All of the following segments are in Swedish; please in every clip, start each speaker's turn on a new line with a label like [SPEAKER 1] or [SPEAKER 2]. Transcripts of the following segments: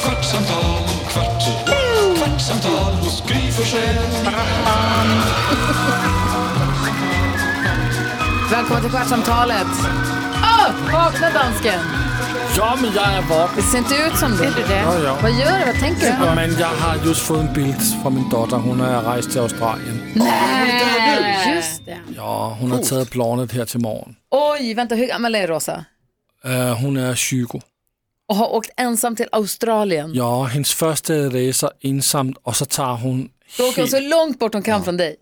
[SPEAKER 1] kvartsamtal, kvart, kvartsamtal hos Gry Forssell.
[SPEAKER 2] Välkommen till Kvartsamtalet. Upp! Vakna dansken!
[SPEAKER 3] Ja, men jag är vaken.
[SPEAKER 2] Det ser inte ut som det.
[SPEAKER 3] Ja, ja.
[SPEAKER 2] Vad gör du? Vad tänker du?
[SPEAKER 3] Men jag har just fått en bild från min dotter. Hon har rejst till Australien.
[SPEAKER 2] Nej, just det.
[SPEAKER 3] Ja, hon har tagit planet här till morgon.
[SPEAKER 2] Oj, vänta, hur gammal är Rosa?
[SPEAKER 3] Eh, hon är 20.
[SPEAKER 2] Och har åkt ensam till Australien.
[SPEAKER 3] Ja, hennes första resa ensamt och så tar hon...
[SPEAKER 2] Då åker hon så
[SPEAKER 3] helt-
[SPEAKER 2] långt bort hon kan från dig.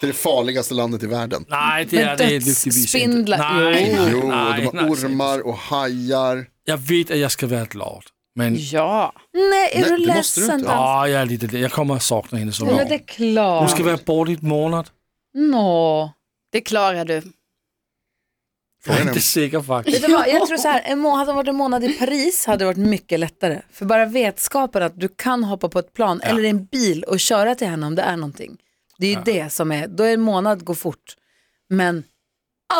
[SPEAKER 4] Det är det farligaste landet i världen.
[SPEAKER 3] Nej, det är
[SPEAKER 2] Men
[SPEAKER 3] det lyckligtvis inte.
[SPEAKER 2] dödsspindlar-
[SPEAKER 3] Nej,
[SPEAKER 2] Jo.
[SPEAKER 3] nej,
[SPEAKER 4] Jo,
[SPEAKER 3] nej,
[SPEAKER 4] de har
[SPEAKER 3] nej.
[SPEAKER 4] ormar och hajar.
[SPEAKER 3] Jag vet att jag ska vara glad. Men
[SPEAKER 2] Ja. Nej, är
[SPEAKER 4] Nej,
[SPEAKER 2] du
[SPEAKER 4] det måste du
[SPEAKER 2] ledsen?
[SPEAKER 4] inte.
[SPEAKER 2] dans-
[SPEAKER 3] ja, jag, är lite, jag kommer att sakna henne så
[SPEAKER 2] Men
[SPEAKER 3] långt.
[SPEAKER 2] det är klart.
[SPEAKER 3] Hon ska vara borta i ett månad.
[SPEAKER 2] Nå.
[SPEAKER 5] Det klarar du.
[SPEAKER 3] Jag är
[SPEAKER 4] Frågan är-
[SPEAKER 3] inte säker faktiskt.
[SPEAKER 2] Vet du vad, jag tror så här, en må- hade hon varit en månad i Paris hade det varit mycket lättare. För bara vetskapen att du kan hoppa på ett plan eller i en bil och köra till henne om det är någonting. Det är ju det som är, då är en månad går fort. Men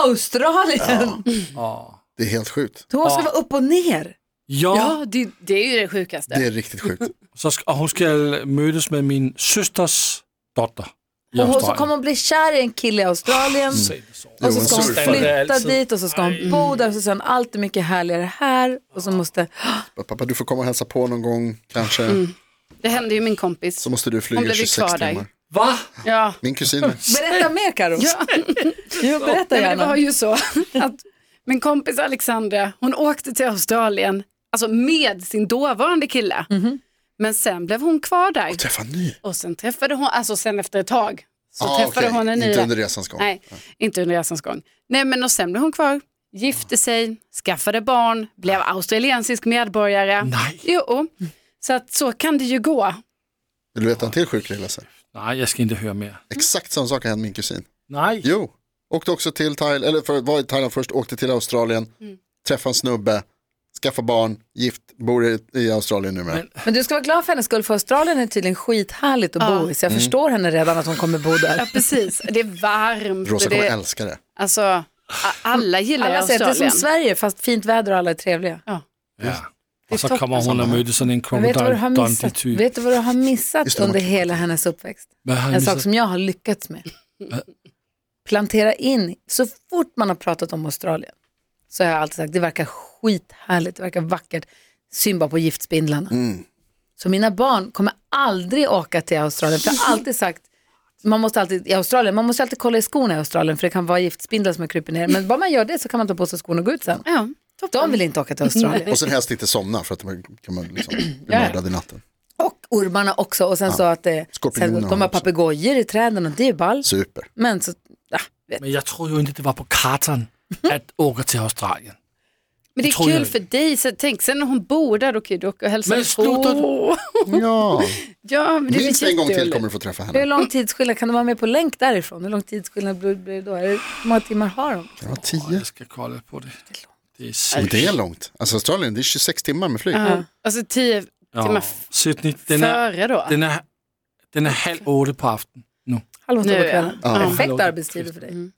[SPEAKER 2] Australien!
[SPEAKER 3] Ja.
[SPEAKER 4] Det är helt sjukt.
[SPEAKER 2] Då ska vara upp och ner.
[SPEAKER 3] ja,
[SPEAKER 5] Ja, det, det är ju det sjukaste.
[SPEAKER 4] Det är riktigt sjukt.
[SPEAKER 3] så ska, och hon ska mötas med min systers dotter i
[SPEAKER 2] Och så
[SPEAKER 3] Australien.
[SPEAKER 2] kommer hon bli kär i en kille i Australien.
[SPEAKER 5] Mm.
[SPEAKER 4] Jo,
[SPEAKER 2] Och så
[SPEAKER 4] en
[SPEAKER 2] ska hon
[SPEAKER 4] surfare.
[SPEAKER 2] flytta dit och så ska hon bo där och så ska hon allt är mycket härligare här. Och så måste,
[SPEAKER 4] Pappa, du får komma och hälsa på någon gång kanske.
[SPEAKER 5] Det hände ju min kompis.
[SPEAKER 4] Så måste du
[SPEAKER 5] Mm. Hon
[SPEAKER 4] flyga
[SPEAKER 5] blev ju
[SPEAKER 4] 26
[SPEAKER 5] kvar där.
[SPEAKER 4] timmar.
[SPEAKER 3] Va?
[SPEAKER 5] Ja.
[SPEAKER 4] Min kusin.
[SPEAKER 2] berätta mer Karo.
[SPEAKER 5] Ja.
[SPEAKER 2] Jo, berätta
[SPEAKER 5] Nej, men det
[SPEAKER 2] gärna.
[SPEAKER 5] var ju så att min kompis Alexandra, hon åkte till Australien, alltså med sin dåvarande kille.
[SPEAKER 2] Mhm.
[SPEAKER 5] Men sen blev hon kvar där.
[SPEAKER 4] Träffa en ny.
[SPEAKER 5] Och sen träffade hon, alltså sen efter ett tag, så
[SPEAKER 4] Ah,
[SPEAKER 5] träffade
[SPEAKER 4] okej.
[SPEAKER 5] hon en ny.
[SPEAKER 4] Inte under resans gång.
[SPEAKER 5] Nej, inte under resans gång. Nej, men och sen blev hon kvar, gifte sig, skaffade barn, blev australiensisk medborgare.
[SPEAKER 3] Nej.
[SPEAKER 5] Jo, så att så kan det ju gå.
[SPEAKER 4] Vill du veta en till sjuk grej,
[SPEAKER 5] Mm.
[SPEAKER 4] Lasse?
[SPEAKER 3] Nej, jag ska inte höra mer.
[SPEAKER 4] Exakt samma sak har hänt min kusin.
[SPEAKER 3] Nej.
[SPEAKER 4] Jo, åkte också till Thailand, eller för, var i Thailand först, åkte till Australien,
[SPEAKER 5] Mm.
[SPEAKER 4] träffade en snubbe, skaffade barn, gift, bor i, i Australien numera.
[SPEAKER 3] Men-
[SPEAKER 2] Men du ska vara glad för hennes skull för Australien är tydligen skithärligt att bo i så jag
[SPEAKER 3] Mm.
[SPEAKER 2] förstår henne redan att hon kommer bo
[SPEAKER 5] Ja,
[SPEAKER 2] där.
[SPEAKER 5] precis. Det är varmt.
[SPEAKER 4] Rosa
[SPEAKER 5] och
[SPEAKER 4] kommer
[SPEAKER 5] det,
[SPEAKER 4] älska det.
[SPEAKER 5] alltså, a- alla gillar
[SPEAKER 2] Alla säger att det är
[SPEAKER 5] Australien.
[SPEAKER 2] som Sverige fast fint väder och alla är trevliga.
[SPEAKER 3] Ja. Och så kommer hon och möter sådan en
[SPEAKER 2] Men vet, du vad du har
[SPEAKER 3] crocodile Dundee
[SPEAKER 2] missat?
[SPEAKER 3] typ.
[SPEAKER 2] vet du vad du har missat
[SPEAKER 4] Just det,
[SPEAKER 2] under
[SPEAKER 4] man-
[SPEAKER 2] hela hennes uppväxt?
[SPEAKER 3] Vad har jag
[SPEAKER 2] En sak
[SPEAKER 3] missat?
[SPEAKER 2] som jag har lyckats med. Plantera in, så fort man har pratat om Australien så har jag alltid sagt det verkar skithärligt, det verkar vackert. Synd bara på giftspindlarna. Så mina barn kommer aldrig åka till Australien för jag har alltid sagt man måste alltid, i Australien, man måste alltid kolla i skorna i Australien för det kan vara giftspindlar som har krupit ner. Men bara man gör det så kan man ta på sig skorna och gå ut sen.
[SPEAKER 5] Ja,
[SPEAKER 2] De vill inte åka till Australien.
[SPEAKER 4] Och sen helst inte somna för att man kan man liksom bli mördad i natten.
[SPEAKER 2] Och ormarna också. Och sen så att det,
[SPEAKER 4] Skorpionerna
[SPEAKER 2] sen, de har
[SPEAKER 4] också.
[SPEAKER 2] papegojor i träden och det är ball.
[SPEAKER 4] Super.
[SPEAKER 2] Men så, ja, vet.
[SPEAKER 3] Men jag tror ju inte det var på kartan att åka till Australien.
[SPEAKER 5] men det
[SPEAKER 3] tror
[SPEAKER 5] är
[SPEAKER 3] jag
[SPEAKER 5] kul
[SPEAKER 3] inte.
[SPEAKER 5] för dig. Så tänk sen när hon bor där, då kan ju du åka och hälsa
[SPEAKER 3] Men sluta-
[SPEAKER 5] på.
[SPEAKER 4] Ja,
[SPEAKER 5] Ja, men det
[SPEAKER 4] minst
[SPEAKER 5] blir
[SPEAKER 4] en gång till
[SPEAKER 5] jätteroligt.
[SPEAKER 4] kommer du få träffa henne.
[SPEAKER 2] Hur lång tidsskillnad kan de vara med på länk därifrån? Hur lång tidsskillnad blir blir det då? Är det, hur många timmar har de?
[SPEAKER 4] Det var
[SPEAKER 3] Ja,
[SPEAKER 4] tio.
[SPEAKER 3] jag ska kolla på det. Det är
[SPEAKER 4] Men
[SPEAKER 3] sick.
[SPEAKER 4] det är långt. Alltså Australien, det är 26 timmar med flyg.
[SPEAKER 5] Ja. Alltså tio timmar
[SPEAKER 3] Ja.
[SPEAKER 5] f-
[SPEAKER 3] Sydney, den är,
[SPEAKER 5] före då.
[SPEAKER 3] den, är, den är halv åtta på afton nu.
[SPEAKER 2] Halv åtta på
[SPEAKER 5] Nu, ja.
[SPEAKER 2] kvällen.
[SPEAKER 4] Ja.
[SPEAKER 2] Perfekt
[SPEAKER 3] Halv åtta.
[SPEAKER 2] arbetstider för dig.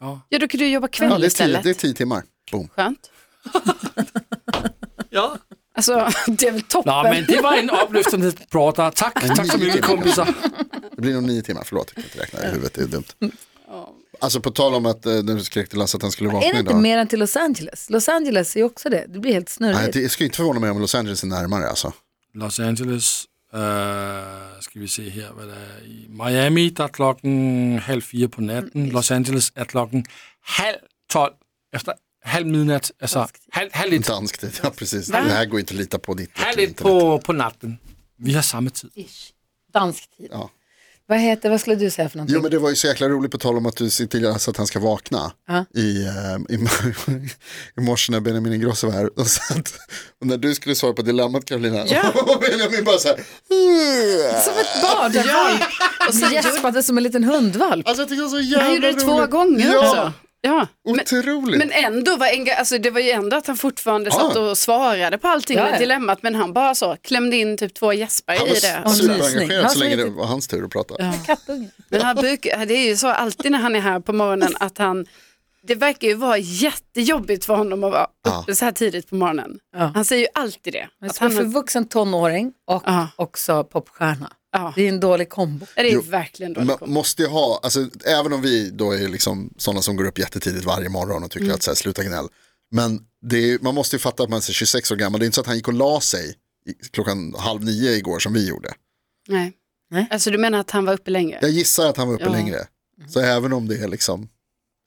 [SPEAKER 3] Ja.
[SPEAKER 5] Ja, då kan du jobba kväll
[SPEAKER 4] Ja, det, är tio,
[SPEAKER 5] istället.
[SPEAKER 4] det är tio timmar. Boom.
[SPEAKER 5] Skönt.
[SPEAKER 3] ja.
[SPEAKER 5] Alltså, det är väl toppen.
[SPEAKER 3] Nå, men det var en upplyftande prata. Tack, tack så mycket kompisar.
[SPEAKER 4] Det blir nog nio timmar, förlåt. Jag kan inte räkna i huvudet, det är dumt. Alltså på tal om att eh, nu skrek till Lasse att han skulle
[SPEAKER 2] Är
[SPEAKER 4] vakna
[SPEAKER 2] det inte
[SPEAKER 4] idag.
[SPEAKER 2] mer än till Los Angeles? Los Angeles är ju också det. Det blir helt
[SPEAKER 4] Nej,
[SPEAKER 2] snurrigt.
[SPEAKER 4] det skulle inte förvåna mig om Los Angeles är närmare alltså.
[SPEAKER 3] Los Angeles. Uh, ska vi se här vad det är i Miami, där klockan halv fyra på natten. Los Angeles är klockan halv tolv, efter halv midnatt, alltså halv, halv ett,
[SPEAKER 4] Dansk tid, ja precis. Det här går ju inte att lita på ditt
[SPEAKER 3] halv ett
[SPEAKER 4] internet.
[SPEAKER 3] på, på natten. Vi har samma tid.
[SPEAKER 2] Dansk tid.
[SPEAKER 4] Ja.
[SPEAKER 2] Vad heter, vad skulle du säga för någonting?
[SPEAKER 4] Jo men det var ju så jäkla roligt på tal om att du ser till så att han ska vakna
[SPEAKER 2] Ja.
[SPEAKER 4] i, eh, i, i morse när Benjamin Ingrosso var här. Och, så att, och när du skulle svara på dilemmat Karolina,
[SPEAKER 5] Ja.
[SPEAKER 4] och Benjamin bara så här. "Mm."
[SPEAKER 2] Som ett barn. Och så gäspade som en liten hundvalp.
[SPEAKER 4] Alltså jag tycker det var så
[SPEAKER 5] Han
[SPEAKER 4] jävla
[SPEAKER 5] gjorde
[SPEAKER 4] roligt.
[SPEAKER 5] det två gånger
[SPEAKER 4] ja,
[SPEAKER 5] också. Ja. Men,
[SPEAKER 4] Otroligt.
[SPEAKER 5] men ändå var enga, alltså det var ju ändå att han fortfarande
[SPEAKER 4] Ja.
[SPEAKER 5] satt och svarade på allting
[SPEAKER 2] Ja, ja.
[SPEAKER 5] i dilemmat men han bara så klämde in typ två gäspar
[SPEAKER 4] han
[SPEAKER 5] i det.
[SPEAKER 4] var
[SPEAKER 2] Omlysning.
[SPEAKER 4] superengagerad
[SPEAKER 2] Han
[SPEAKER 4] så länge
[SPEAKER 2] var
[SPEAKER 4] det
[SPEAKER 2] typ-
[SPEAKER 4] var hans tur att prata. Ja.
[SPEAKER 2] Kattunge.
[SPEAKER 5] Men han brukar, det är ju så alltid när han är här på morgonen att han, det verkar ju vara jättejobbigt för honom att vara
[SPEAKER 4] Ja.
[SPEAKER 5] uppe så här tidigt på morgonen.
[SPEAKER 2] Ja.
[SPEAKER 5] Han säger ju alltid det.
[SPEAKER 2] Men
[SPEAKER 5] Att
[SPEAKER 2] som
[SPEAKER 5] han,
[SPEAKER 2] för
[SPEAKER 5] har-
[SPEAKER 2] vuxen tonåring och
[SPEAKER 5] Ja.
[SPEAKER 2] också popstjärna.
[SPEAKER 5] ja,
[SPEAKER 2] Det är en dålig kombo.
[SPEAKER 5] det är
[SPEAKER 4] Jo.
[SPEAKER 5] verkligen
[SPEAKER 4] Man
[SPEAKER 5] dåligt. komp-
[SPEAKER 4] måste ju ha, alltså, även om vi då är liksom sådana som går upp jättetidigt varje morgon och tycker att så här, sluta gnäll. Men det är, man måste ju fatta att man är 26 år gammal, det är inte så att han gick och la sig i- klockan halv nio igår som vi gjorde.
[SPEAKER 5] Nej.
[SPEAKER 2] Nej.
[SPEAKER 5] Alltså du menar att han var uppe längre?
[SPEAKER 4] Jag gissar att han var uppe
[SPEAKER 5] Ja.
[SPEAKER 4] längre. Så även om det är liksom,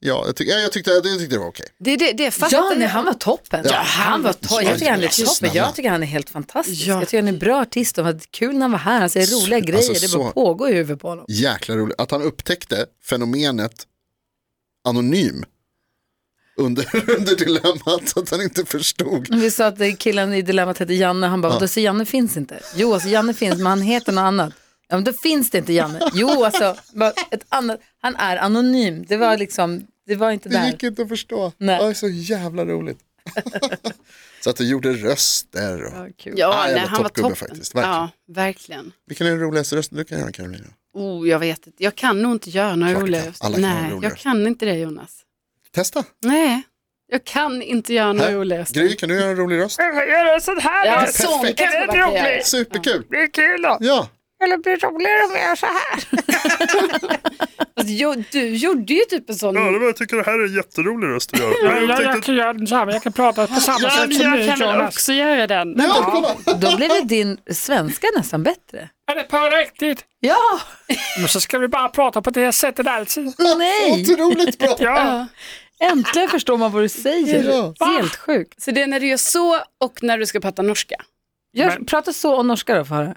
[SPEAKER 4] ja, jag, tyck, ja, jag, tyckte, jag tyckte det var okej.
[SPEAKER 5] Det, det, det fattar
[SPEAKER 2] Ja, nej,
[SPEAKER 5] jag.
[SPEAKER 2] han var toppen.
[SPEAKER 4] Ja,
[SPEAKER 2] han var toppen. Jag tycker han är
[SPEAKER 4] Jesus,
[SPEAKER 2] toppen.
[SPEAKER 4] snälla.
[SPEAKER 2] Jag tycker han är helt fantastisk.
[SPEAKER 5] Ja.
[SPEAKER 2] Jag tycker han är en bra artist. och Det var kul när han var här. Han säger roliga grejer.
[SPEAKER 4] alltså,
[SPEAKER 2] det bara
[SPEAKER 4] så-
[SPEAKER 2] pågår i huvudet på honom.
[SPEAKER 4] Jäkla roligt, att han upptäckte fenomenet anonym under, under dilemmat, så att han inte förstod.
[SPEAKER 2] Vi sa att det är killen i Dilemmat hette Janne. Han bara, ja. så Janne finns inte. Jo, alltså Janne finns, men han heter något annat. Ja, men då finns det inte Janne. Jo, alltså, bara ett annat. han är anonym. Det var liksom, det var inte
[SPEAKER 4] Det
[SPEAKER 2] där.
[SPEAKER 4] gick inte att förstå.
[SPEAKER 2] Nej.
[SPEAKER 4] Det var så jävla roligt. så att du gjorde röster. Och...
[SPEAKER 2] Ja, kul.
[SPEAKER 5] Ja,
[SPEAKER 4] Ah, jag
[SPEAKER 5] nej,
[SPEAKER 4] var
[SPEAKER 5] han var
[SPEAKER 4] toppgubbe
[SPEAKER 5] toppen.
[SPEAKER 4] faktiskt, verkligen.
[SPEAKER 5] Ja, verkligen.
[SPEAKER 4] Vilken är den roligaste rösten du kan göra Carolina?
[SPEAKER 5] Oh, jag vet inte. Jag kan nog inte göra några
[SPEAKER 4] Klart du
[SPEAKER 5] roliga
[SPEAKER 4] kan.
[SPEAKER 5] röster.
[SPEAKER 4] Alla kan göra
[SPEAKER 5] Nej,
[SPEAKER 4] roliga
[SPEAKER 5] jag kan inte det Jonas.
[SPEAKER 4] Testa.
[SPEAKER 5] Nej, jag kan inte göra några
[SPEAKER 4] Här.
[SPEAKER 5] roliga röster.
[SPEAKER 4] Gry, kan du göra en rolig röst?
[SPEAKER 5] Ja, sån
[SPEAKER 4] perfekt.
[SPEAKER 5] kanske man kan göra.
[SPEAKER 4] Superkul. Det är kul då. Ja.
[SPEAKER 5] Alltså, jo, du gjorde ju typ en sån.
[SPEAKER 2] Mm.
[SPEAKER 6] Jag tycker det här är en jätterolig röst att göra. Men jag tänkte-
[SPEAKER 3] kan göra den samma, jag kan prata på samma sätt som du Jonas.
[SPEAKER 5] också göra den.
[SPEAKER 4] ja.
[SPEAKER 2] Då blev väl din svenska nästan bättre.
[SPEAKER 3] Är det på riktigt?
[SPEAKER 2] Ja,
[SPEAKER 3] Men så ska vi bara prata på det här sättet alltid.
[SPEAKER 2] nej,
[SPEAKER 4] Otroligt bra.
[SPEAKER 3] Ja.
[SPEAKER 2] äntligen förstår man vad du säger. Helt sjukt.
[SPEAKER 5] Så det är när du gör så och när du ska prata norska.
[SPEAKER 2] Gör,
[SPEAKER 3] Men-
[SPEAKER 2] Prata så och norska då, för höra.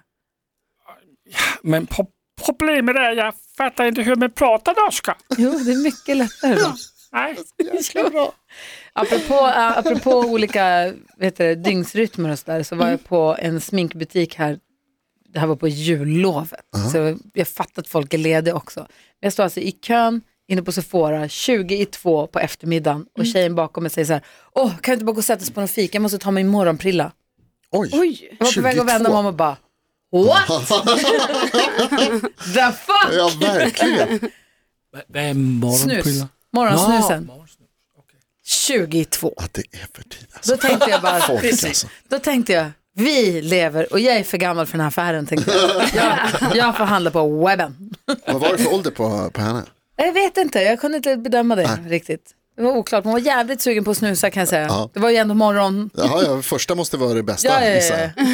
[SPEAKER 3] Men pro- problemet är jag fattar inte hur man pratar norska.
[SPEAKER 2] Jo, det är mycket lättare då.
[SPEAKER 3] Nej.
[SPEAKER 2] Apropå, äh, apropå olika vet du, dygnsrytmer och sådär så var jag på en sminkbutik här, det här var på jullovet, så jag fattar att folk är lediga också. Men jag står alltså i kön inne på Sephora 20 i två på eftermiddagen och tjejen bakom mig säger så här, åh kan vi inte bara gå och sätta oss på någon fika, jag måste ta min morgonprilla.
[SPEAKER 4] Oj.
[SPEAKER 2] Oj, jag var på väg att vända mig om och bara, what the fuck?
[SPEAKER 4] Ja, verkligen.
[SPEAKER 3] Vad är
[SPEAKER 2] Snus,
[SPEAKER 3] morgonpiller?
[SPEAKER 2] morgonsnusen, 20 i två.
[SPEAKER 4] Att det är för tidigt. Alltså.
[SPEAKER 2] Då tänkte jag bara,
[SPEAKER 4] Folk alltså.
[SPEAKER 2] Då tänkte jag, vi lever och jag är för gammal för den här affären. Tänkte jag. Jag, jag får handla på webben.
[SPEAKER 4] Vad var det för ålder på, på henne?
[SPEAKER 2] Jag vet inte, jag kunde inte bedöma det riktigt. Det var oklart, men hon var jävligt sugen på att snusa kan jag säga.
[SPEAKER 4] Ja.
[SPEAKER 2] Det var ju ändå morgon.
[SPEAKER 4] Jaha, ja, första måste vara det bästa.
[SPEAKER 2] Ja, ja,
[SPEAKER 4] gissar
[SPEAKER 2] ja,
[SPEAKER 4] jag.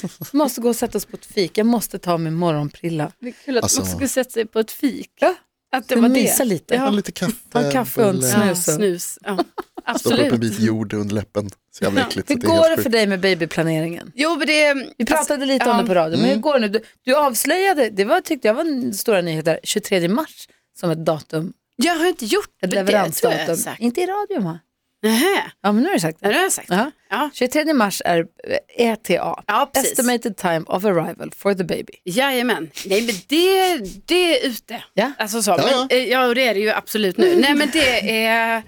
[SPEAKER 2] ja. måste gå och sätta oss på ett fik, jag måste ta min morgonprilla.
[SPEAKER 5] Det är kul att
[SPEAKER 4] Alltså.
[SPEAKER 5] man skulle sätta sig på ett fik.
[SPEAKER 2] Ja.
[SPEAKER 5] Att det
[SPEAKER 2] Ska
[SPEAKER 5] var
[SPEAKER 2] mysa
[SPEAKER 5] det.
[SPEAKER 2] lite.
[SPEAKER 4] Ja,
[SPEAKER 5] Ja.
[SPEAKER 4] Lite kaffe.
[SPEAKER 2] Ta en kaffe och en
[SPEAKER 4] bulle.
[SPEAKER 5] Ja,
[SPEAKER 2] Snus och-
[SPEAKER 5] snus. Ja.
[SPEAKER 4] Stoppa upp en
[SPEAKER 5] Absolut.
[SPEAKER 4] bit jord under läppen. Så jävla äckligt.
[SPEAKER 2] Hur
[SPEAKER 4] så är helt
[SPEAKER 2] går det
[SPEAKER 4] sjukt.
[SPEAKER 2] för dig med babyplaneringen?
[SPEAKER 5] Jo, men det är...
[SPEAKER 2] Vi pratade lite om
[SPEAKER 5] ja. Mm.
[SPEAKER 2] det på radio, men hur går det nu? Du, du avslöjade, det var, tyckte jag var en stora nyheter, 23 mars som ett datum,
[SPEAKER 5] Jag har inte gjort
[SPEAKER 2] ett
[SPEAKER 5] det. tror jag jag har
[SPEAKER 2] leveransdatum.
[SPEAKER 5] sagt.
[SPEAKER 2] Inte i radion va?
[SPEAKER 5] Nähä,
[SPEAKER 2] Ja, men nu har du sagt
[SPEAKER 5] ja,
[SPEAKER 2] det.
[SPEAKER 5] det har jag sagt.
[SPEAKER 2] Ja.
[SPEAKER 5] Ja.
[SPEAKER 2] 23 mars är eh, ETA,
[SPEAKER 5] Ja, precis.
[SPEAKER 2] Estimated Time of Arrival for the Baby.
[SPEAKER 5] Jajamän, nej men det, det är ute.
[SPEAKER 2] Ja.
[SPEAKER 5] Alltså så,
[SPEAKER 4] ja.
[SPEAKER 5] Men, eh, ja och det är det ju absolut nu. Nej men det är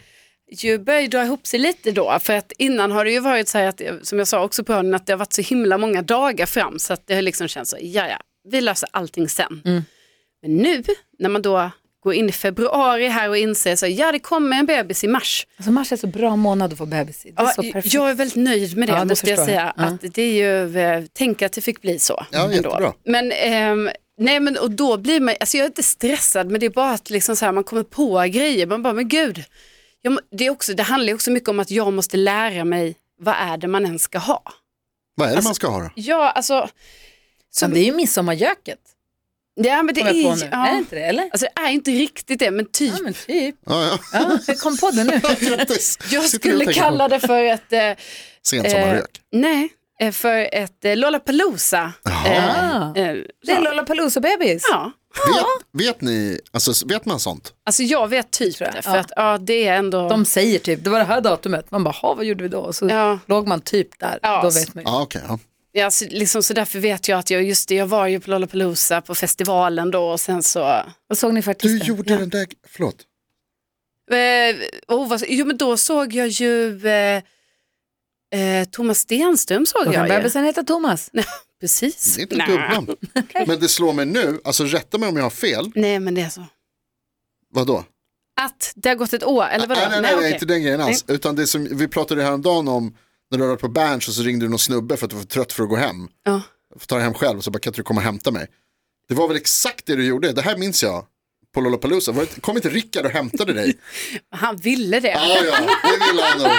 [SPEAKER 5] ju börjar ju dra ihop sig lite då för att innan har det ju varit så här att, eh, som jag sa också på hörnen, att det har varit så himla många dagar fram så att det har liksom känts så, ja ja, vi löser allting sen. Men nu när man då går in i februari här och inser så, ja det kommer en bebis i mars.
[SPEAKER 2] Alltså mars är så bra månad att få bebis i. Det är
[SPEAKER 5] Ja,
[SPEAKER 2] så perfekt.
[SPEAKER 5] jag är väldigt nöjd med det,
[SPEAKER 2] Ja, det
[SPEAKER 5] måste jag
[SPEAKER 2] förstår jag.
[SPEAKER 5] säga.
[SPEAKER 2] Ja.
[SPEAKER 5] Att det är ju, eh, tänk att det fick bli så.
[SPEAKER 4] Ja, jättebra.
[SPEAKER 5] Men, ehm, nej, men och då blir man, alltså jag är inte stressad, men det är bara att liksom så här, man kommer på grejer. Man bara, men gud, jag, må- det, är också, det handlar ju också mycket om att jag måste lära mig vad är det man ens ska ha.
[SPEAKER 4] Vad är det man ska ha då?
[SPEAKER 5] Ja, alltså,
[SPEAKER 2] Men det är ju midsommargöket.
[SPEAKER 5] ja, men det
[SPEAKER 2] kommer
[SPEAKER 5] är,
[SPEAKER 2] jag
[SPEAKER 5] ju-
[SPEAKER 2] på nu.
[SPEAKER 5] ja,
[SPEAKER 2] Är det inte det? Eller?
[SPEAKER 5] alltså, det är inte riktigt det, men typ.
[SPEAKER 2] Ja, men typ.
[SPEAKER 4] Ja, ja.
[SPEAKER 2] Ja, jag kom på det nu.
[SPEAKER 4] Grattis.
[SPEAKER 5] Jag
[SPEAKER 4] Sitter du och
[SPEAKER 5] skulle
[SPEAKER 4] tänker på
[SPEAKER 5] kalla det för ett... Eh,
[SPEAKER 4] Sensommarrök.
[SPEAKER 5] nej, eh, för ett eh, Lollapalooza.
[SPEAKER 4] Jaha.
[SPEAKER 5] Eh,
[SPEAKER 2] Ah,
[SPEAKER 5] eh,
[SPEAKER 2] det är
[SPEAKER 5] ja.
[SPEAKER 2] Lollapalooza-bebis.
[SPEAKER 5] Ja,
[SPEAKER 4] Vet, vet ni, alltså vet man sånt?
[SPEAKER 5] Alltså jag vet typ
[SPEAKER 2] Tror jag.
[SPEAKER 5] det, för
[SPEAKER 2] Ja.
[SPEAKER 5] att ja, det är ändå...
[SPEAKER 2] De säger typ, det var det här datumet. Man bara, "Ha, vad gjorde vi då? Och så
[SPEAKER 5] Ja.
[SPEAKER 2] låg man typ där.
[SPEAKER 5] Ja,
[SPEAKER 2] Då
[SPEAKER 5] så-
[SPEAKER 2] vet man ju.
[SPEAKER 4] Ja, okej. ja.
[SPEAKER 5] Ja, så, liksom, så därför vet jag att jag, just det, jag var ju på Lollapalooza på festivalen då och sen så...
[SPEAKER 2] Vad såg ni för
[SPEAKER 4] Du
[SPEAKER 2] artister?
[SPEAKER 4] gjorde den där, förlåt.
[SPEAKER 5] Eh, oh, vad, jo men då såg jag ju eh, eh, Thomas Stenström såg
[SPEAKER 2] Då kan
[SPEAKER 5] jag ju.
[SPEAKER 2] bebisen heta Thomas.
[SPEAKER 5] Precis.
[SPEAKER 4] Det är inte
[SPEAKER 5] Nej.
[SPEAKER 4] ett dubbnamn. Men det slår mig nu, alltså rätta mig om jag har fel.
[SPEAKER 5] Nej men det är så.
[SPEAKER 4] Vadå?
[SPEAKER 5] Att det har gått ett år, eller vadå?
[SPEAKER 4] Ah, nej, nej, nej,
[SPEAKER 5] okej.
[SPEAKER 4] inte den grejen alls. Utan det som, vi pratade häromdagen om när du hade varit på Berns och så ringde du någon snubbe för att du var för trött för att gå hem.
[SPEAKER 5] Ja.
[SPEAKER 4] Får ta dig hem själv och så bara kan inte du komma och hämta mig. Det var väl exakt det du gjorde, det här minns jag. På Lollapalooza, Var det- kom inte Rickard och hämtade dig?
[SPEAKER 5] Han ville det.
[SPEAKER 4] Ja, ja, det ville han nog.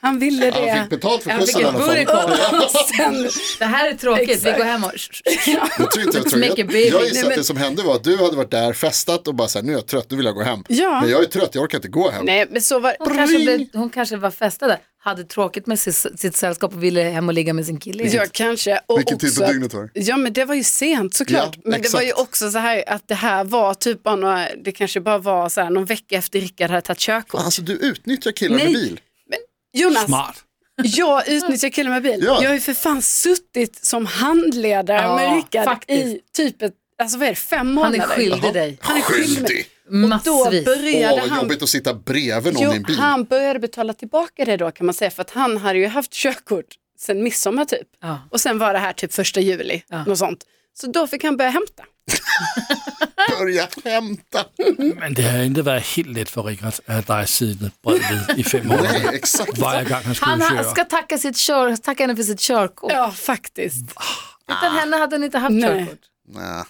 [SPEAKER 5] Han ville det.
[SPEAKER 4] Han fick betalt för
[SPEAKER 2] Jag fick
[SPEAKER 4] skjutsen i
[SPEAKER 2] ett
[SPEAKER 4] alla fall.
[SPEAKER 2] burkon. Det här är tråkigt, vi går hem och...
[SPEAKER 4] Jag tror inte jag tror.
[SPEAKER 2] Make a
[SPEAKER 4] Jag,
[SPEAKER 2] baby.
[SPEAKER 4] jag
[SPEAKER 2] Nej,
[SPEAKER 4] gissar att
[SPEAKER 2] men-
[SPEAKER 4] det som hände var att du hade varit där, festat och bara så här, nu är jag trött, nu vill jag gå hem.
[SPEAKER 5] Ja.
[SPEAKER 4] Men jag är trött, jag orkar inte gå hem.
[SPEAKER 5] Nej men så var
[SPEAKER 2] Hon kanske, blev, hon kanske var festade, hade tråkigt med sitt, sitt sällskap och ville hem och ligga med sin kille.
[SPEAKER 5] Ja kanske. Och
[SPEAKER 4] Vilken tid på
[SPEAKER 5] också-
[SPEAKER 4] dygnet var det?
[SPEAKER 5] Ja men det var ju sent såklart.
[SPEAKER 4] Ja,
[SPEAKER 5] men det var ju
[SPEAKER 4] exakt.
[SPEAKER 5] också så här att det här var typ bara några, det kanske bara var så här någon vecka efter Rickard hade tagit körkort.
[SPEAKER 4] Alltså du utnyttjar killar med
[SPEAKER 5] Nej.
[SPEAKER 4] bil.
[SPEAKER 5] Jonas,
[SPEAKER 3] Smart.
[SPEAKER 5] jag utnyttjar killen med bil.
[SPEAKER 4] Ja.
[SPEAKER 5] Jag har ju för fan suttit som handledare
[SPEAKER 2] Ja,
[SPEAKER 5] med Rickard
[SPEAKER 2] faktiskt.
[SPEAKER 5] i typ ett, alltså vad är det, fem
[SPEAKER 2] Han
[SPEAKER 5] månader?
[SPEAKER 2] är skyldig dig
[SPEAKER 5] Han är skyldig. mig.
[SPEAKER 4] Skyldig.
[SPEAKER 5] Då
[SPEAKER 2] massvis.
[SPEAKER 4] Åh,
[SPEAKER 5] började
[SPEAKER 4] vad
[SPEAKER 5] han
[SPEAKER 4] jobbigt att sitta bredvid någon i en
[SPEAKER 5] Jo,
[SPEAKER 4] bil.
[SPEAKER 5] han började betala tillbaka det då kan man säga för att han hade ju haft körkort sen midsommar typ.
[SPEAKER 2] Ja.
[SPEAKER 5] Och sen var det här typ första juli, något sånt. Så då fick han börja hämta.
[SPEAKER 4] Börja hämta.
[SPEAKER 3] Men det har inte været helt let for Richard at have dig siddende bredvid i fem år.
[SPEAKER 4] Nej, exakt.
[SPEAKER 3] Hver gang han skulle
[SPEAKER 2] Han ha-
[SPEAKER 3] køre.
[SPEAKER 2] ska tacka, sitt kör, tacka henne för sitt körkort.
[SPEAKER 5] Ja, faktiskt.
[SPEAKER 2] Utan henne hade han inte haft
[SPEAKER 5] Nej.
[SPEAKER 2] körkort.
[SPEAKER 4] Nej.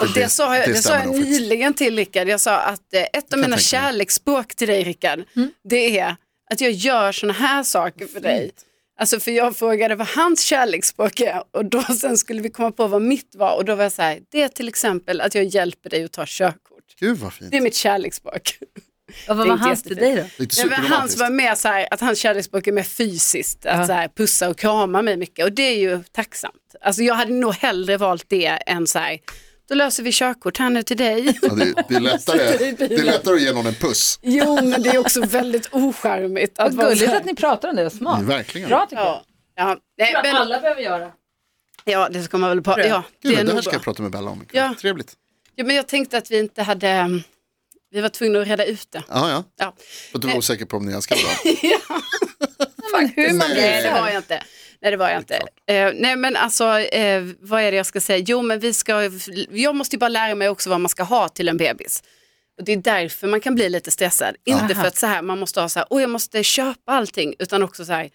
[SPEAKER 5] Och det sa jag,
[SPEAKER 4] det
[SPEAKER 5] det sa
[SPEAKER 4] stämmer
[SPEAKER 5] jag
[SPEAKER 4] nog faktiskt.
[SPEAKER 5] nyligen till Rickard. Jag sa att eh, ett av mina kärleksspråk till dig Rickard, det är att jag gör sådana här saker för dig. Alltså för jag frågade vad hans kärleksspråk är och då sen skulle vi komma på vad mitt var och då var jag så här, det är till exempel att jag hjälper dig att ta körkort.
[SPEAKER 4] Gud vad fint.
[SPEAKER 5] Det är mitt kärleksspråk.
[SPEAKER 2] Och vad
[SPEAKER 5] Det är
[SPEAKER 2] var
[SPEAKER 5] inte
[SPEAKER 2] hans till dig då?
[SPEAKER 4] Lite
[SPEAKER 5] Nej, men hans
[SPEAKER 4] superromantiskt.
[SPEAKER 5] var mer så här, att hans kärleksspråk är mer fysiskt, att
[SPEAKER 2] Ja.
[SPEAKER 5] så här, pussa och krama mig mycket och det är ju tacksamt. Alltså jag hade nog hellre valt det än så här, då löser vi körkort här nu till dig.
[SPEAKER 4] Ja, det, är- det, är lättare,
[SPEAKER 5] Sitter i bilen.
[SPEAKER 4] det är lättare att ge någon en puss.
[SPEAKER 5] jo, men det är också väldigt ocharmigt. Att
[SPEAKER 2] Vad
[SPEAKER 5] vara så
[SPEAKER 2] gulligt
[SPEAKER 5] här.
[SPEAKER 2] att ni pratar om det, vad smart.
[SPEAKER 4] Verkligen.
[SPEAKER 2] Bra tycker jag.
[SPEAKER 5] Ja, ja. Nej, men,
[SPEAKER 2] behöver göra.
[SPEAKER 5] ja, det ska man väl på. Ja,
[SPEAKER 4] Gud,
[SPEAKER 5] det
[SPEAKER 4] det,
[SPEAKER 5] är nog
[SPEAKER 4] här ska
[SPEAKER 5] bra.
[SPEAKER 4] jag prata med Bella om. Ja.
[SPEAKER 5] Ja.
[SPEAKER 4] Trevligt.
[SPEAKER 5] Ja, men jag tänkte att vi inte hade, um, vi var tvungna att reda ut det.
[SPEAKER 4] Ja, ja.
[SPEAKER 5] Ja.
[SPEAKER 4] För att du var osäker på om ni älskar varandra.
[SPEAKER 2] Hur man
[SPEAKER 5] Nej, det
[SPEAKER 2] blir
[SPEAKER 5] var jag inte. Nej, det var jag inte. Eh, nej, men alltså, eh, vad är det jag ska säga? Jo, men vi ska, jag måste ju bara lära mig också vad man ska ha till en bebis. Och det är därför man kan bli lite stressad. Inte för att så här, man måste ha så här, åh, jag måste köpa allting, utan också så här,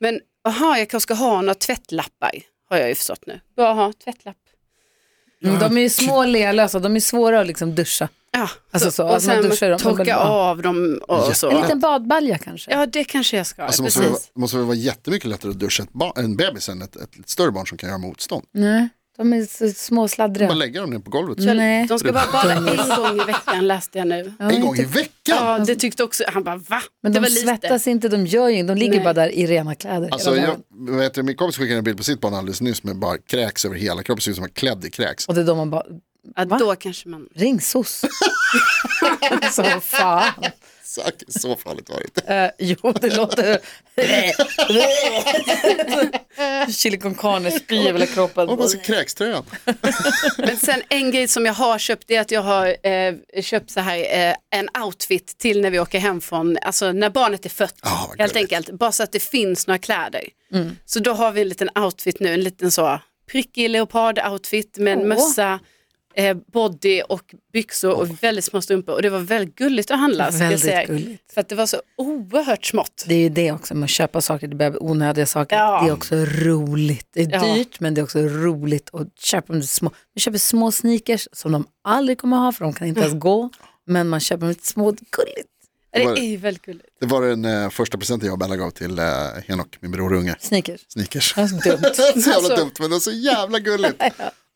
[SPEAKER 5] men aha, jag kanske ska ha några tvättlappar, har jag ju förstått nu. Bra att ha tvättlapp.
[SPEAKER 2] Mm, De är ju små och lealösa, de är svåra att liksom duscha.
[SPEAKER 5] Ja,
[SPEAKER 2] Alltså så,
[SPEAKER 5] och
[SPEAKER 2] att man
[SPEAKER 5] sen
[SPEAKER 2] duschar dem.
[SPEAKER 5] torka
[SPEAKER 2] Ja.
[SPEAKER 5] av dem och
[SPEAKER 2] En
[SPEAKER 5] så.
[SPEAKER 2] liten badbalja kanske.
[SPEAKER 5] Ja, det kanske jag ska.
[SPEAKER 4] Alltså, måste, det, vara-
[SPEAKER 5] precis.
[SPEAKER 4] måste det vara jättemycket lättare att duscha ett barn, en bebis än ett, ett, större barn som kan göra motstånd.
[SPEAKER 2] Nej, de är så små och sladdriga.
[SPEAKER 4] Bara lägga dem ner på golvet.
[SPEAKER 5] Mm.
[SPEAKER 2] Nej.
[SPEAKER 5] De ska bara bada en gång i veckan läste jag nu.
[SPEAKER 2] Ja,
[SPEAKER 4] En gång
[SPEAKER 2] inte-
[SPEAKER 4] i veckan.
[SPEAKER 5] Ja, det tyckte också, han bara va?
[SPEAKER 2] Men
[SPEAKER 5] det
[SPEAKER 2] de
[SPEAKER 5] var lite.
[SPEAKER 2] svettas inte, de gör ju de ligger
[SPEAKER 5] Nej.
[SPEAKER 2] bara där i rena kläder.
[SPEAKER 4] Alltså,
[SPEAKER 2] hela
[SPEAKER 4] jag,
[SPEAKER 2] dagen.
[SPEAKER 4] vet du, min kompis skickade en bild på sitt barn alldeles nyss med bara kräks över hela kroppen, ser ut som en klädd i kräks.
[SPEAKER 2] Och det är då man bara,
[SPEAKER 5] Ja,
[SPEAKER 2] Va?
[SPEAKER 5] då kanske man...
[SPEAKER 2] ring SOS. så fan.
[SPEAKER 4] Så, så farligt var det inte.
[SPEAKER 2] Eh, jo, det låter... Chili con carne, spy över hela kroppen.
[SPEAKER 4] Och bara så kräkströjan.
[SPEAKER 5] Men sen en grej som jag har köpt det är att jag har eh, köpt så här eh, en outfit till när vi åker hem från, alltså när barnet är fött.
[SPEAKER 4] Ja, Ah, vad
[SPEAKER 5] helt
[SPEAKER 4] gulligt.
[SPEAKER 5] enkelt, bara så att det finns några kläder.
[SPEAKER 2] Mm.
[SPEAKER 5] Så då har vi en liten outfit nu, en liten så prickig leopard-outfit med en
[SPEAKER 2] Åh.
[SPEAKER 5] mössa, eh, body och byxor och väldigt små strumpor. Och det var väldigt gulligt att handla. ska jag
[SPEAKER 2] Väldigt
[SPEAKER 5] säga.
[SPEAKER 2] gulligt.
[SPEAKER 5] För att det var så oerhört smått.
[SPEAKER 2] Det är ju det också med att köpa saker till bebis, onödiga saker.
[SPEAKER 5] Ja.
[SPEAKER 2] Det är också roligt. Det är
[SPEAKER 5] Ja.
[SPEAKER 2] dyrt men det är också roligt att köpa de små. Man köper små sneakers som de aldrig kommer ha för de kan inte ens gå. Men man köper dem lite små, gulligt.
[SPEAKER 5] Det
[SPEAKER 4] var-
[SPEAKER 5] är ju väldigt gulligt.
[SPEAKER 4] Det var den eh, första presenten jag och Bella gav till eh, Henok, min bror och unge.
[SPEAKER 2] Sneakers.
[SPEAKER 4] Sneakers.
[SPEAKER 2] Det är så dumt.
[SPEAKER 4] så jävla dumt, men det var så jävla gulligt.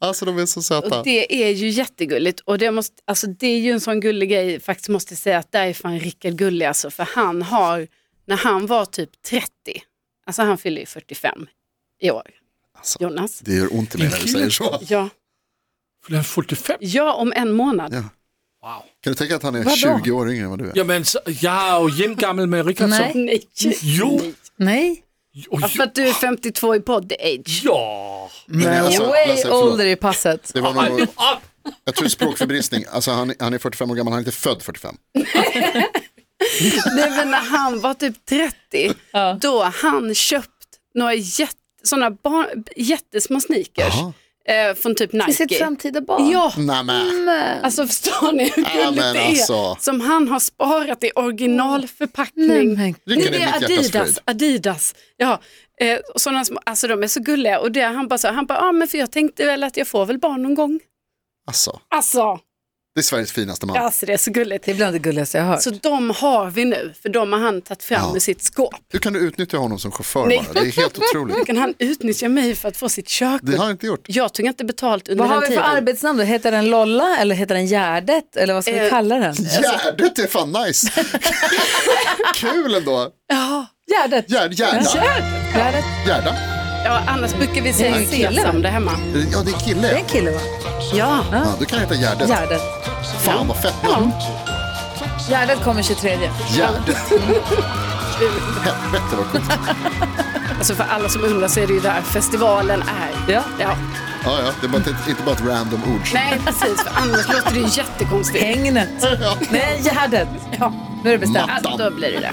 [SPEAKER 4] Alltså de är så söta.
[SPEAKER 5] Och det är ju jättegulligt och det, måste, alltså det är ju en sån gullig grej faktiskt måste jag säga att där är fan Rickard gullig alltså för han har, när han var typ 30, alltså han fyller ju 45 i år,
[SPEAKER 4] Alltså,
[SPEAKER 5] Jonas.
[SPEAKER 4] det gör ont i mig när du säger så.
[SPEAKER 5] Ja,
[SPEAKER 3] Fyller han 45?
[SPEAKER 5] Ja, om en månad.
[SPEAKER 4] Ja.
[SPEAKER 3] Wow.
[SPEAKER 4] Kan du tänka att han är
[SPEAKER 2] Vadå?
[SPEAKER 4] 20 år yngre än vad du är?
[SPEAKER 3] Jamen, så, jag är ju jämngammal med Rickardsson.
[SPEAKER 2] Nej.
[SPEAKER 5] Nej.
[SPEAKER 3] Jo.
[SPEAKER 2] Nej.
[SPEAKER 3] Och
[SPEAKER 5] Ja, för
[SPEAKER 3] ju-
[SPEAKER 5] att du är 52 i podd-age.
[SPEAKER 3] Ja.
[SPEAKER 4] Nej, alltså,
[SPEAKER 2] Way
[SPEAKER 4] Lasse, förlåt.
[SPEAKER 2] older i passet.
[SPEAKER 4] Det var nog,
[SPEAKER 3] Ah,
[SPEAKER 4] jag tror språkförbristning. Alltså han, han är 45 år gammal, han är inte född 45.
[SPEAKER 5] Nej, men när han var typ 30, då har han köpt några jätt, såna barn, jättesmå sneakers eh, från typ
[SPEAKER 2] I sitt
[SPEAKER 5] Nike.
[SPEAKER 2] framtida barn.
[SPEAKER 5] Ja,
[SPEAKER 4] Nej men,
[SPEAKER 5] alltså förstår ni hur
[SPEAKER 4] Ja,
[SPEAKER 5] gulligt
[SPEAKER 4] men
[SPEAKER 5] det är?
[SPEAKER 4] alltså.
[SPEAKER 5] Som han har sparat i
[SPEAKER 2] Nej,
[SPEAKER 5] originalförpackning.
[SPEAKER 2] men,
[SPEAKER 4] Rickard
[SPEAKER 5] det
[SPEAKER 4] är
[SPEAKER 5] är
[SPEAKER 4] mitt hjärtas
[SPEAKER 5] Adidas,
[SPEAKER 4] fröjd.
[SPEAKER 5] Adidas. Ja, eh, och sådana små, alltså de är så gulliga och det han bara sa, han bara, ja ah, men för jag tänkte väl att jag får väl barn någon gång.
[SPEAKER 4] Alltså,
[SPEAKER 5] Alltså,
[SPEAKER 4] det är Sveriges finaste man.
[SPEAKER 5] alltså det är så gulligt.
[SPEAKER 2] det är bland det gulligaste jag har hört.
[SPEAKER 5] Så de har vi nu, för de har han tagit fram
[SPEAKER 4] Ja.
[SPEAKER 5] ur sitt skåp.
[SPEAKER 4] Hur kan du utnyttja honom som chaufför
[SPEAKER 5] Nej.
[SPEAKER 4] bara? Det är helt
[SPEAKER 5] Hur
[SPEAKER 4] otroligt.
[SPEAKER 5] kan han utnyttja mig för att få sitt körkort?
[SPEAKER 4] Det har han inte gjort.
[SPEAKER 5] Jag tog inte betalt under
[SPEAKER 2] Vad har
[SPEAKER 5] den
[SPEAKER 2] vi för
[SPEAKER 5] tiden.
[SPEAKER 2] arbetsnamn då? Heter den Lolla eller heter den Gärdet? Eller vad ska vi
[SPEAKER 5] Eh,
[SPEAKER 2] kalla den?
[SPEAKER 4] Gärdet är fan nice. Kul ändå.
[SPEAKER 2] Gärdet.
[SPEAKER 4] Gär- Gärda.
[SPEAKER 2] Gärdet.
[SPEAKER 4] Gärda.
[SPEAKER 5] ja, annars brukar vi säga
[SPEAKER 2] Det är en kille,
[SPEAKER 5] sesam
[SPEAKER 2] va?
[SPEAKER 5] där hemma.
[SPEAKER 4] Ja, det är
[SPEAKER 2] Det är en
[SPEAKER 4] kille.
[SPEAKER 2] kille va?
[SPEAKER 5] Ja,
[SPEAKER 4] Ja, du kan heta Gärdet.
[SPEAKER 2] Gärdet.
[SPEAKER 4] Fan vad fett namn.
[SPEAKER 2] Gärdet kommer 23.
[SPEAKER 4] Gärdet. Helvete vad coolt.
[SPEAKER 5] alltså för alla som undrar så är det ju där festivalen är.
[SPEAKER 2] Ja.
[SPEAKER 5] Ja.
[SPEAKER 4] Ja, ja, det är bara ett, inte bara ett random ord.
[SPEAKER 5] Nej, precis, för annars låter det ju jättekonstigt.
[SPEAKER 2] Hängnet.
[SPEAKER 4] Ja.
[SPEAKER 2] Nej, Gärdet.
[SPEAKER 5] Ja.
[SPEAKER 2] Nu är det bestämt.
[SPEAKER 4] Matt.
[SPEAKER 5] Alltså, då blir det det.